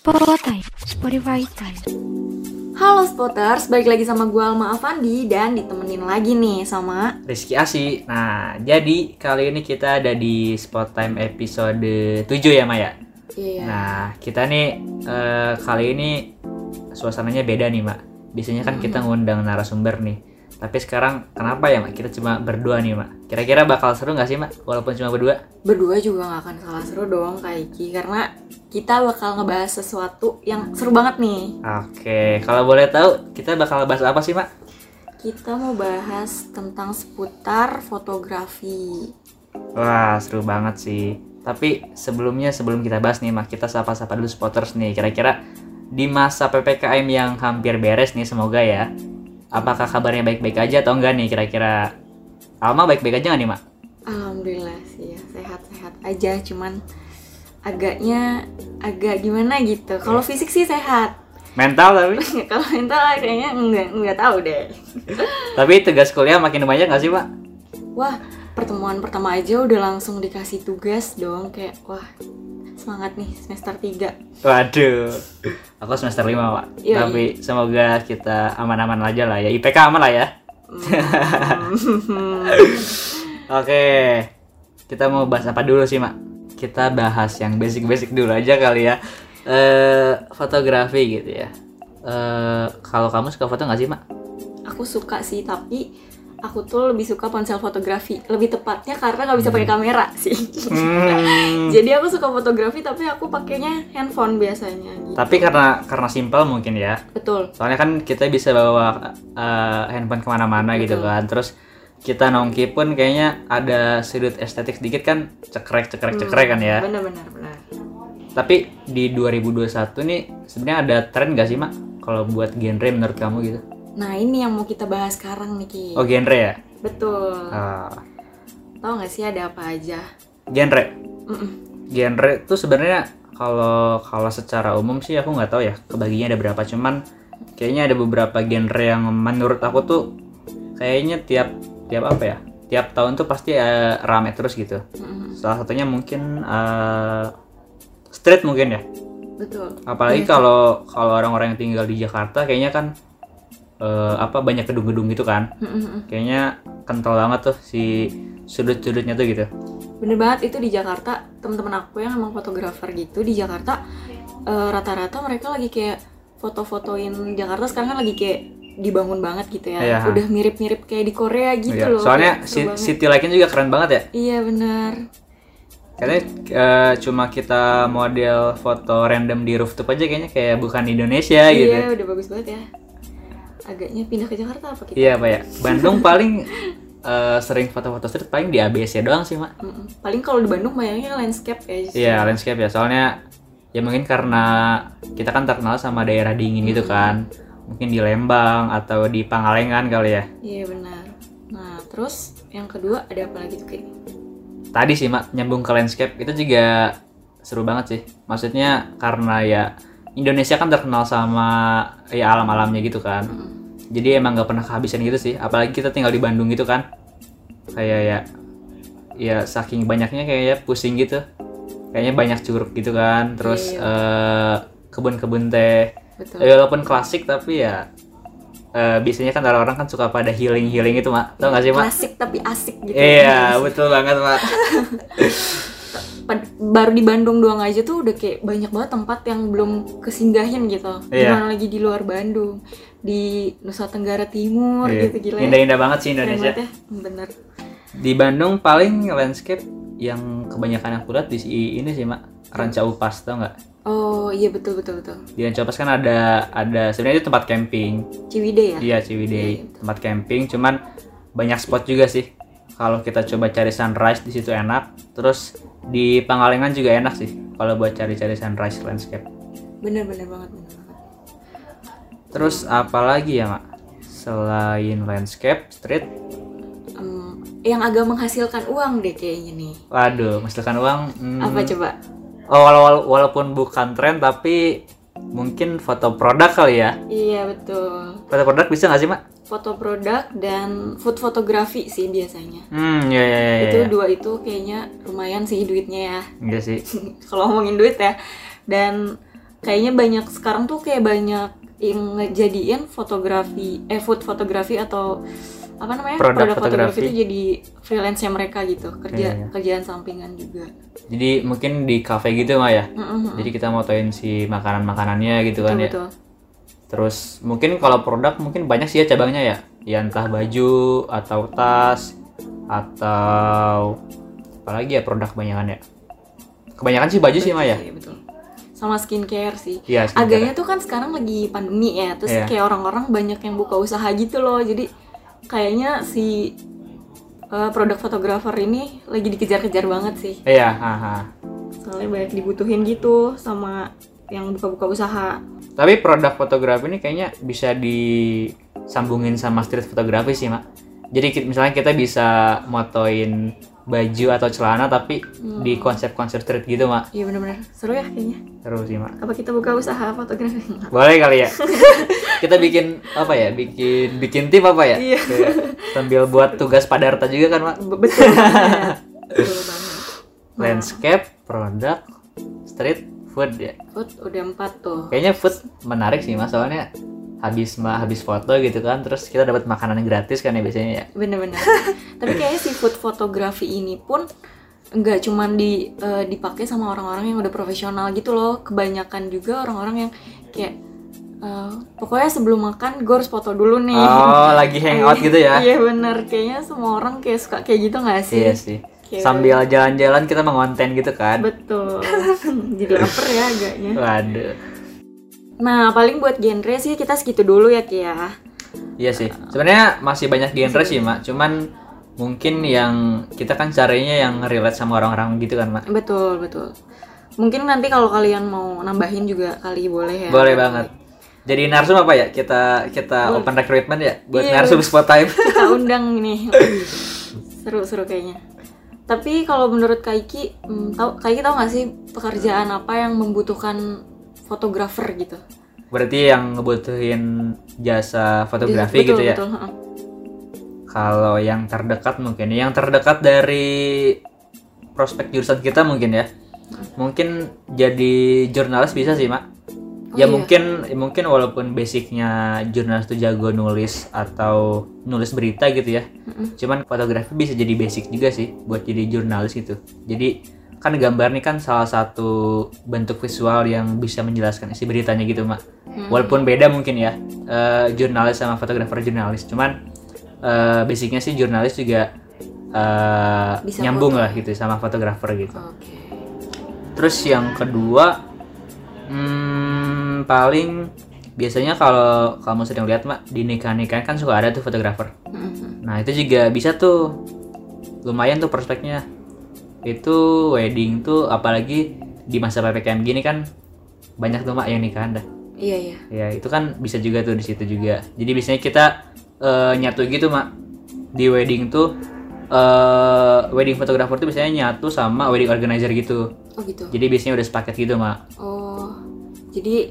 Spotify, Spotify time. Halo Spotters, balik lagi sama gue Alma Avandi dan ditemenin lagi nih sama Rizky Asi. Nah, jadi kali ini kita ada di Spot Time episode 7 ya Maya. Iya. Nah, kita nih eh, kali ini suasananya beda nih, Mak. Biasanya kan kita ngundang narasumber nih. Tapi sekarang kenapa ya, Mak? Kita cuma berdua nih, Mak. Kira-kira bakal seru nggak sih, Mak? Walaupun cuma berdua. Berdua juga gak akan kalah seru dong Kak Iki Karena kita bakal ngebahas sesuatu yang seru banget nih Oke, kalau boleh tahu kita bakal bahas apa sih, Mak? Kita mau bahas tentang seputar fotografi Wah, seru banget sih. Tapi sebelumnya sebelum kita bahas nih, Mak, kita sapa-sapa dulu spotters nih. Kira-kira di masa PPKM yang hampir beres nih semoga ya. Apakah kabarnya baik-baik aja atau enggak nih kira-kira? Alma baik-baik aja nggak nih, Mak? Alhamdulillah sih ya, sehat-sehat aja Cuman agaknya agak gimana gitu Kalau fisik sih sehat Mental tapi. Kalau mental kayaknya nggak, nggak tahu deh tapi tugas kuliah makin banyak nggak sih, Pak? Wah, pertemuan pertama aja udah langsung dikasih tugas dong kayak wah semangat nih semester 3. Waduh. Aku semester 5, Pak. Iya, tapi semoga kita aman-aman aja lah ya. IPK aman lah ya. Hmm. Oke. Kita mau bahas apa dulu sih, Mak? Kita bahas yang basic-basic dulu aja kali ya. Eh, fotografi gitu ya. Eh, kalau kamu suka foto nggak sih, Mak? aku suka sih tapi aku tuh lebih suka ponsel fotografi, lebih tepatnya karena nggak bisa pakai kamera sih. Hmm. Jadi aku suka fotografi tapi aku pakainya handphone biasanya gitu. Tapi karena karena simpel mungkin ya. Betul. soalnya kan kita bisa bawa eh, handphone kemana-mana gitu Betul. kan terus kita nongki pun kayaknya ada sudut estetik sedikit kan cekrek cekrek cekrek kan ya Bener-bener benar. tapi di 2021 nih sebenarnya ada tren gak sih mak kalau buat genre menurut kamu gitu Nah, ini yang mau kita bahas sekarang nih, Ki. oh genre ya Betul. Ah, Tahu nggak sih ada apa aja? genre Mm-mm. genre tuh sebenarnya kalau kalau secara umum sih aku nggak tahu ya kebaginya ada berapa cuman kayaknya ada beberapa genre yang menurut aku tuh kayaknya tiap tiap apa ya tiap tahun tuh pasti eh, rame terus gitu Mm-mm. salah satunya mungkin eh, street mungkin ya Betul. Iya. apalagi kalau kalau orang-orang yang tinggal di Jakarta kayaknya kan eh, apa banyak gedung-gedung gitu kan Mm-mm. kayaknya kental banget tuh si sudut-sudutnya tuh gitu bener banget itu di Jakarta teman-teman aku yang emang fotografer gitu di Jakarta eh, rata-rata mereka lagi kayak foto-fotoin Jakarta sekarang kan lagi kayak dibangun banget gitu ya Iya. udah mirip-mirip kayak di Korea gitu Iya, loh soalnya Kayak seru si- banget. city light-nya juga keren banget ya iya bener Katanya eh, cuma kita model foto random di rooftop aja kayaknya kayak bukan di Indonesia gitu. iya udah bagus banget ya agaknya pindah ke Jakarta apa kita Iya apa ya? Bandung paling eh, sering foto-foto street paling di ABC doang sih, Mak. Mm-mm. paling kalau di Bandung bayangnya landscape ya justru. Iya, landscape ya. Soalnya ya mungkin karena kita kan terkenal sama daerah dingin gitu kan. Mungkin di Lembang atau di Pangalengan kali ya. iya benar nah terus yang kedua ada apa lagi tuh kayak Tadi sih, Mak, nyambung ke landscape itu juga seru banget sih. Maksudnya karena ya Indonesia kan terkenal sama ya alam-alamnya gitu kan. jadi emang nggak pernah kehabisan gitu sih apalagi kita tinggal di Bandung gitu kan kayak ya ya saking banyaknya kayaknya pusing gitu kayaknya banyak curug gitu kan terus Iya, eh, kebun-kebun teh betul Eh, walaupun klasik tapi ya eh, biasanya kan orang-orang kan suka pada healing healing itu mak tau gak sih mak klasik tapi asik gitu iya betul banget mak Pad- baru di Bandung doang aja tuh udah kayak banyak banget tempat yang belum kesinggahin gitu. Iya. Gimana lagi di luar Bandung, di Nusa Tenggara Timur Iya. gitu gila. ya. indah-indah banget sih Keren Indonesia banget ya, Bener. di Bandung paling landscape yang kebanyakan aku lihat di si- ini sih mak Ranca Upas tau nggak Oh iya betul betul betul. di Ranca Upas kan ada ada sebenarnya itu tempat camping Ciwide ya. Iya Ciwidey tempat camping, cuman banyak spot juga sih. Kalau kita coba cari sunrise di situ enak, terus di Pangalengan juga enak sih. Kalau buat cari-cari sunrise landscape. Bener bener banget bener banget. Terus apa lagi ya mak? Selain landscape, street, Em, yang agak menghasilkan uang deh kayaknya nih. waduh, menghasilkan uang. hmm, Apa coba? oh, wala- wala- walaupun bukan tren tapi mungkin foto produk kali ya. Iya betul. Foto produk bisa nggak sih mak? Foto produk dan food fotografi sih biasanya. Hmm, ya ya ya. Itu dua itu kayaknya lumayan sih duitnya ya. Iya sih. kalau ngomongin duit ya dan kayaknya banyak sekarang tuh kayak banyak yang ngejadiin fotografi eh food fotografi atau apa namanya Produk fotografi. itu jadi freelance-nya mereka gitu kerja Iya, iya. kerjaan sampingan juga Jadi mungkin di cafe gitu mah ya. Mm-mm. Jadi kita motoin si makanan-makanannya gitu kan betul ya. betul Terus mungkin kalau produk mungkin banyak sih ya cabangnya ya. Ya entah baju atau tas atau apalagi ya produk kebanyakan ya. Kebanyakan sih baju sih Betul Mah ya. sih, betul sama skincare sih Iya, skincare. agaknya tuh kan sekarang lagi pandemi ya terus Iya. kayak orang-orang banyak yang buka usaha gitu loh jadi kayaknya si eh, produk fotografer ini lagi dikejar-kejar banget sih Iya, haha. soalnya banyak dibutuhin gitu sama yang buka-buka usaha Tapi produk fotografi ini kayaknya bisa disambungin sama street fotografi sih, Mak. Jadi ki- misalnya kita bisa motoin baju atau celana tapi di konsep-konsep street gitu, Mak. iya bener-bener seru ya kayaknya Seru sih, Mak. apa kita buka usaha fotografi Boleh kali ya. kita bikin apa ya? Bikin bikin tim apa ya? Iya. Hmm. Kayak Sambil buat tugas padarta juga kan, Mak. Be- betul banget. betul banget Landscape, produk, street, food ya. Food udah empat tuh Kayaknya food menarik sih, Mas. Soalnya habis ma- habis foto gitu kan, terus kita dapat makanan gratis kan ya biasanya ya. bener-bener tapi kayaknya seafood fotografi ini pun nggak cuman di eh, dipakai sama orang-orang yang udah profesional gitu loh kebanyakan juga orang-orang yang kayak eh, pokoknya sebelum makan gue harus foto dulu nih Oh, lagi hangout gitu ya? iya bener kayaknya semua orang kayak suka kayak gitu nggak sih Iya sih. Kayak- Sambil jalan-jalan kita mengonten gitu kan. betul jadi lapar ya agaknya Waduh. nah paling buat genre sih kita segitu dulu ya Ki ya Iya sih. Sebenarnya masih banyak genre sih, Mak. Cuman mungkin yang kita kan carinya yang relate sama orang-orang gitu kan, Mak. betul betul mungkin nanti kalau kalian mau nambahin juga kali boleh ya Boleh banget. Jadi narsum apa ya? Kita kita open recruitment ya buat Iya. narsum spot time. kita undang nih seru-seru kayaknya tapi kalau menurut Kaiki hmm, tahu Kaiki tahu nggak sih pekerjaan apa yang membutuhkan fotografer gitu Berarti yang ngebutuhin jasa Iya, fotografi Betul, gitu ya. betul, heeh. Kalau yang terdekat mungkin ya. yang terdekat dari prospek jurusan kita mungkin ya. Mungkin jadi jurnalis bisa sih, Mak. Oh, ya iya. mungkin mungkin walaupun basicnya jurnalis tuh jago nulis atau nulis berita gitu ya. Cuman fotografi bisa jadi basic juga sih buat jadi jurnalis gitu. Jadi kan gambar nih kan salah satu bentuk visual yang bisa menjelaskan isi beritanya gitu, Mak. Walaupun beda mungkin ya eh, jurnalis sama fotografer jurnalis. Cuman eh, basicnya sih jurnalis juga eh, Bisa nyambung lah gitu sama fotografer gitu. oke Terus yang kedua, hmm, paling biasanya kalau kamu sering lihat mak di nikah-nikahan kan suka ada tuh fotografer. Heeh. Nah itu juga bisa tuh, lumayan tuh prospeknya. Itu wedding tuh apalagi di masa ppkm gini kan banyak tuh mak yang nikahan dah. iya iya Ya itu kan bisa juga tuh di situ juga. Jadi biasanya kita eh, nyatu gitu mak di wedding tuh. eh, wedding fotografer tuh biasanya nyatu sama wedding organizer gitu. oh gitu Jadi biasanya udah sepaket gitu, Mak. oh jadi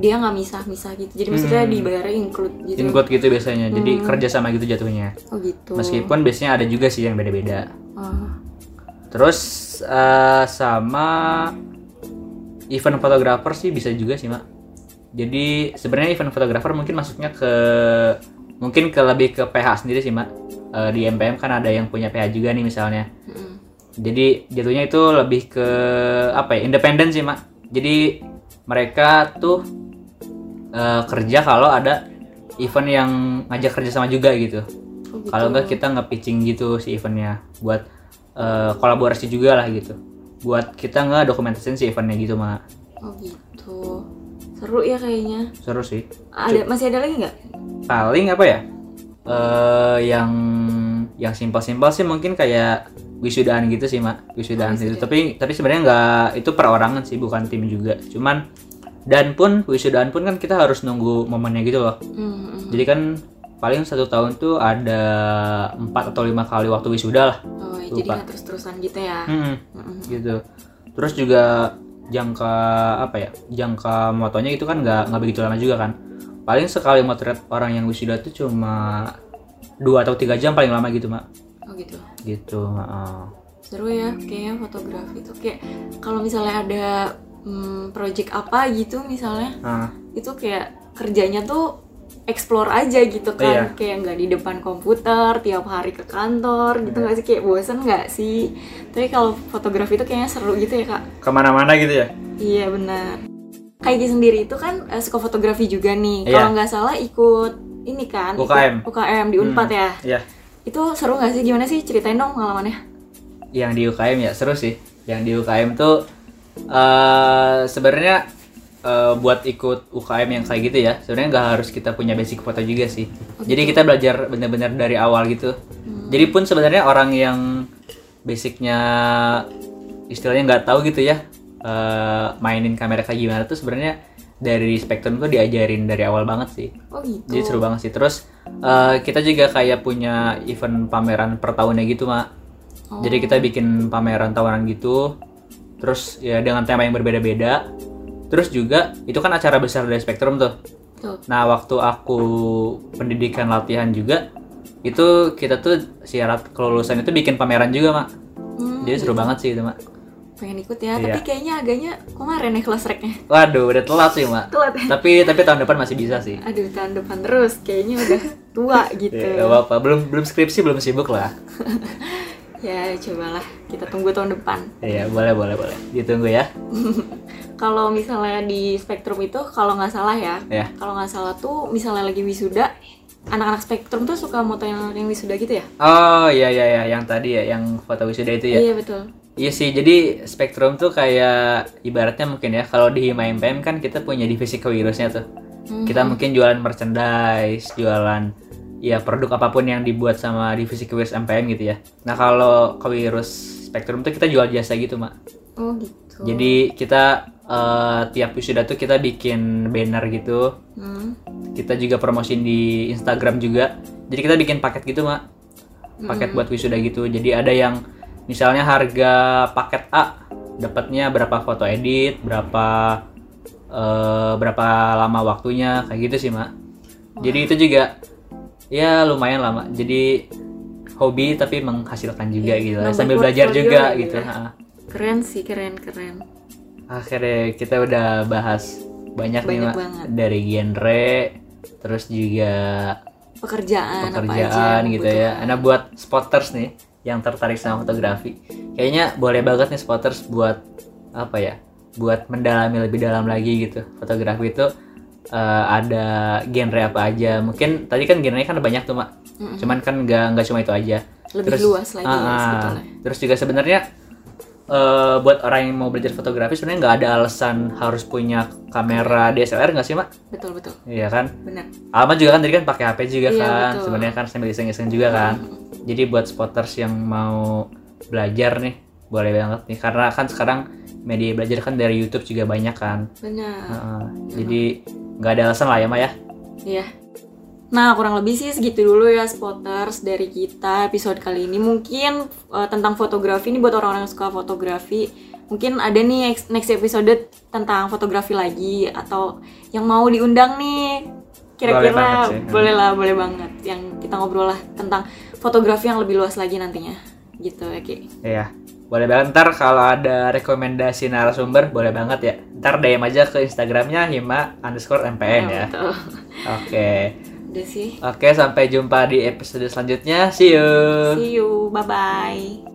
dia nggak misah-misah gitu jadi maksudnya dibayarnya include gitu Hmm. Include gitu biasanya. Jadi kerja sama gitu jatuhnya. oh gitu Meskipun biasanya ada juga sih yang beda-beda. Oh, Terus eh, sama event fotografer sih bisa juga sih, Mak. Jadi sebenarnya event fotografer mungkin masuknya ke mungkin ke lebih ke PH sendiri sih, Mak. Eh, di MPM kan ada yang punya PH juga nih misalnya. heeh. Jadi jatuhnya itu lebih ke apa ya? Independen sih, Mak. Jadi mereka tuh eh, kerja kalau ada event yang ngajak kerja sama juga gitu. Oh, gitu. Kalau enggak kita nge-pitching gitu si eventnya buat eh, kolaborasi juga lah gitu. Buat kita nggak dokumentasiin si eventnya gitu, Mak. oh gitu seru ya kayaknya Seru sih. ada masih ada lagi nggak Paling apa ya? Eh yang yang simpel-simpel sih mungkin kayak wisudaan gitu sih, Mak. Oh, Wisudaan gitu. wisuda. Tapi tapi sebenarnya nggak itu perorangan sih, bukan tim juga. Cuman dan pun wisudaan pun kan kita harus nunggu momennya gitu loh. Hmm, hmm. Jadi kan paling satu tahun tuh ada empat atau lima kali waktu wisuda lah. Oh, ya, Lupa. Hmm. jadi nggak terus-terusan gitu ya. Mm-mm. Mm-mm. gitu terus juga jangka apa ya jangka motonya itu kan nggak nggak begitu lama juga kan paling sekali motret orang yang wisuda tuh cuma dua atau tiga jam paling lama gitu mak Oh gitu. gitu heeh. Seru ya kayaknya fotografi itu kayak kalau misalnya ada hmm, project apa gitu misalnya Nah, itu kayak kerjanya tuh explore aja gitu kan Iya. kayak nggak di depan komputer tiap hari ke kantor gitu Iya. nggak sih kayak bosen nggak sih tapi kalau fotografi itu kayaknya seru gitu ya kak kemana-mana gitu ya iya benar Kaigi sendiri itu kan eh, suka fotografi juga nih Iya. kalau nggak salah ikut ini kan ikut UKM. UKM di Unpad Hmm, ya Iya. itu seru nggak sih gimana sih ceritain dong pengalamannya yang di UKM ya seru sih yang di UKM tuh eh sebenarnya eh, buat ikut UKM yang kayak gitu ya sebenarnya nggak harus kita punya basic foto juga sih jadi kita belajar bener-bener dari awal gitu jadi pun sebenarnya orang yang basicnya istilahnya nggak tahu gitu ya eh, mainin kamera kayak gimana tuh sebenarnya dari spektrum tuh diajarin dari awal banget sih oh gitu jadi seru banget sih. Terus eh, kita juga kayak punya event pameran per tahunnya gitu, Mak. Jadi kita bikin pameran tahunan gitu. Terus ya dengan tema yang berbeda-beda. Terus juga itu kan acara besar dari Spektrum tuh. Tuh. Nah, waktu aku pendidikan latihan juga itu kita tuh syarat kelulusan itu bikin pameran juga, Mak. Hmm, Jadi seru banget sih itu, Mak. pengen ikut ya Iya. tapi kayaknya agaknya kemarin ya kelas reknya Waduh, udah telat sih, Mak. telat ya Tapi tapi tahun depan masih bisa sih. aduh tahun depan terus kayaknya udah tua gitu Ya, nggak apa-apa. Belum belum skripsi, belum sibuk lah. ya cobalah kita tunggu tahun depan Iya, boleh boleh boleh. Ditunggu ya. kalau misalnya di spektrum itu kalau nggak salah ya Ya. kalau nggak salah tuh misalnya lagi wisuda anak-anak spektrum tuh suka moto yang, yang wisuda gitu ya Oh iya iya iya yang tadi ya yang foto wisuda itu ya. Iya, iya betul sih jadi spektrum tuh kayak ibaratnya mungkin ya kalau di Hima MPM kan kita punya divisi kewirusnya tuh. Mhm. Kita mungkin jualan merchandise, jualan ya produk apapun yang dibuat sama divisi kewirus MPM gitu ya. Nah kalau kewirus spektrum tuh kita jual jasa gitu mak. oh gitu Jadi kita eh, tiap wisuda tuh kita bikin banner gitu. Hmm. Kita juga promosin di Instagram juga. Jadi kita bikin paket gitu mak. paket buat wisuda gitu. Jadi ada yang misalnya harga paket A dapatnya berapa foto edit, berapa eh, berapa lama waktunya kayak gitu sih, Mak. Jadi itu juga ya lumayan lama. Jadi hobi tapi menghasilkan juga Iya, gitu nambah sambil belajar portfolio juga gitu gitu. ya. Ha. keren sih keren keren Akhirnya kita udah bahas banyak, nih, Banyak Mak. banget. dari genre terus juga pekerjaan, apa aja yang pekerjaan kan. gitu ya. membutuhkan. Nah buat spotters nih yang tertarik sama fotografi, kayaknya boleh banget nih spotters buat apa ya? Buat mendalami lebih dalam lagi gitu. Fotografi itu eh, ada genre apa aja? Mungkin tadi kan genrenya kan ada banyak tuh, Mak. Mm-mm. Cuman kan nggak nggak cuma itu aja. lebih luas lagi ya, Ah, ah. sebetulnya Terus juga sebenarnya eh, buat orang yang mau belajar fotografi sebenarnya nggak ada alasan harus punya kamera DSLR nggak sih, Mak? betul betul Iya kan? benar Alma juga kan tadi kan pakai HP juga Iya, kan, betul. Hmm. sebenarnya kan sambil iseng-iseng juga kan. Jadi buat spotters yang mau belajar nih, boleh banget nih karena kan sekarang media belajar kan dari YouTube juga banyak kan. benar Heeh. jadi nggak ada alasan lah ya, Ma ya. Iya. Nah, kurang lebih sih segitu dulu ya spotters dari kita episode kali ini. Mungkin eh, tentang fotografi ini buat orang-orang yang suka fotografi. Mungkin ada nih ex- next episode tentang fotografi lagi atau yang mau diundang nih. Boleh banget Kira-kira sih. boleh lah, boleh banget yang kita ngobrol lah tentang fotografi yang lebih luas lagi nantinya. Gitu, oke. Iya. Boleh banget ntar kalau ada rekomendasi narasumber boleh banget ya. Ntar DM aja ke Instagramnya Hima underscore MPM ya. Iya, Betul. Oke. Udah sih. Oke sampai jumpa di episode selanjutnya. See you. See you. Bye-bye.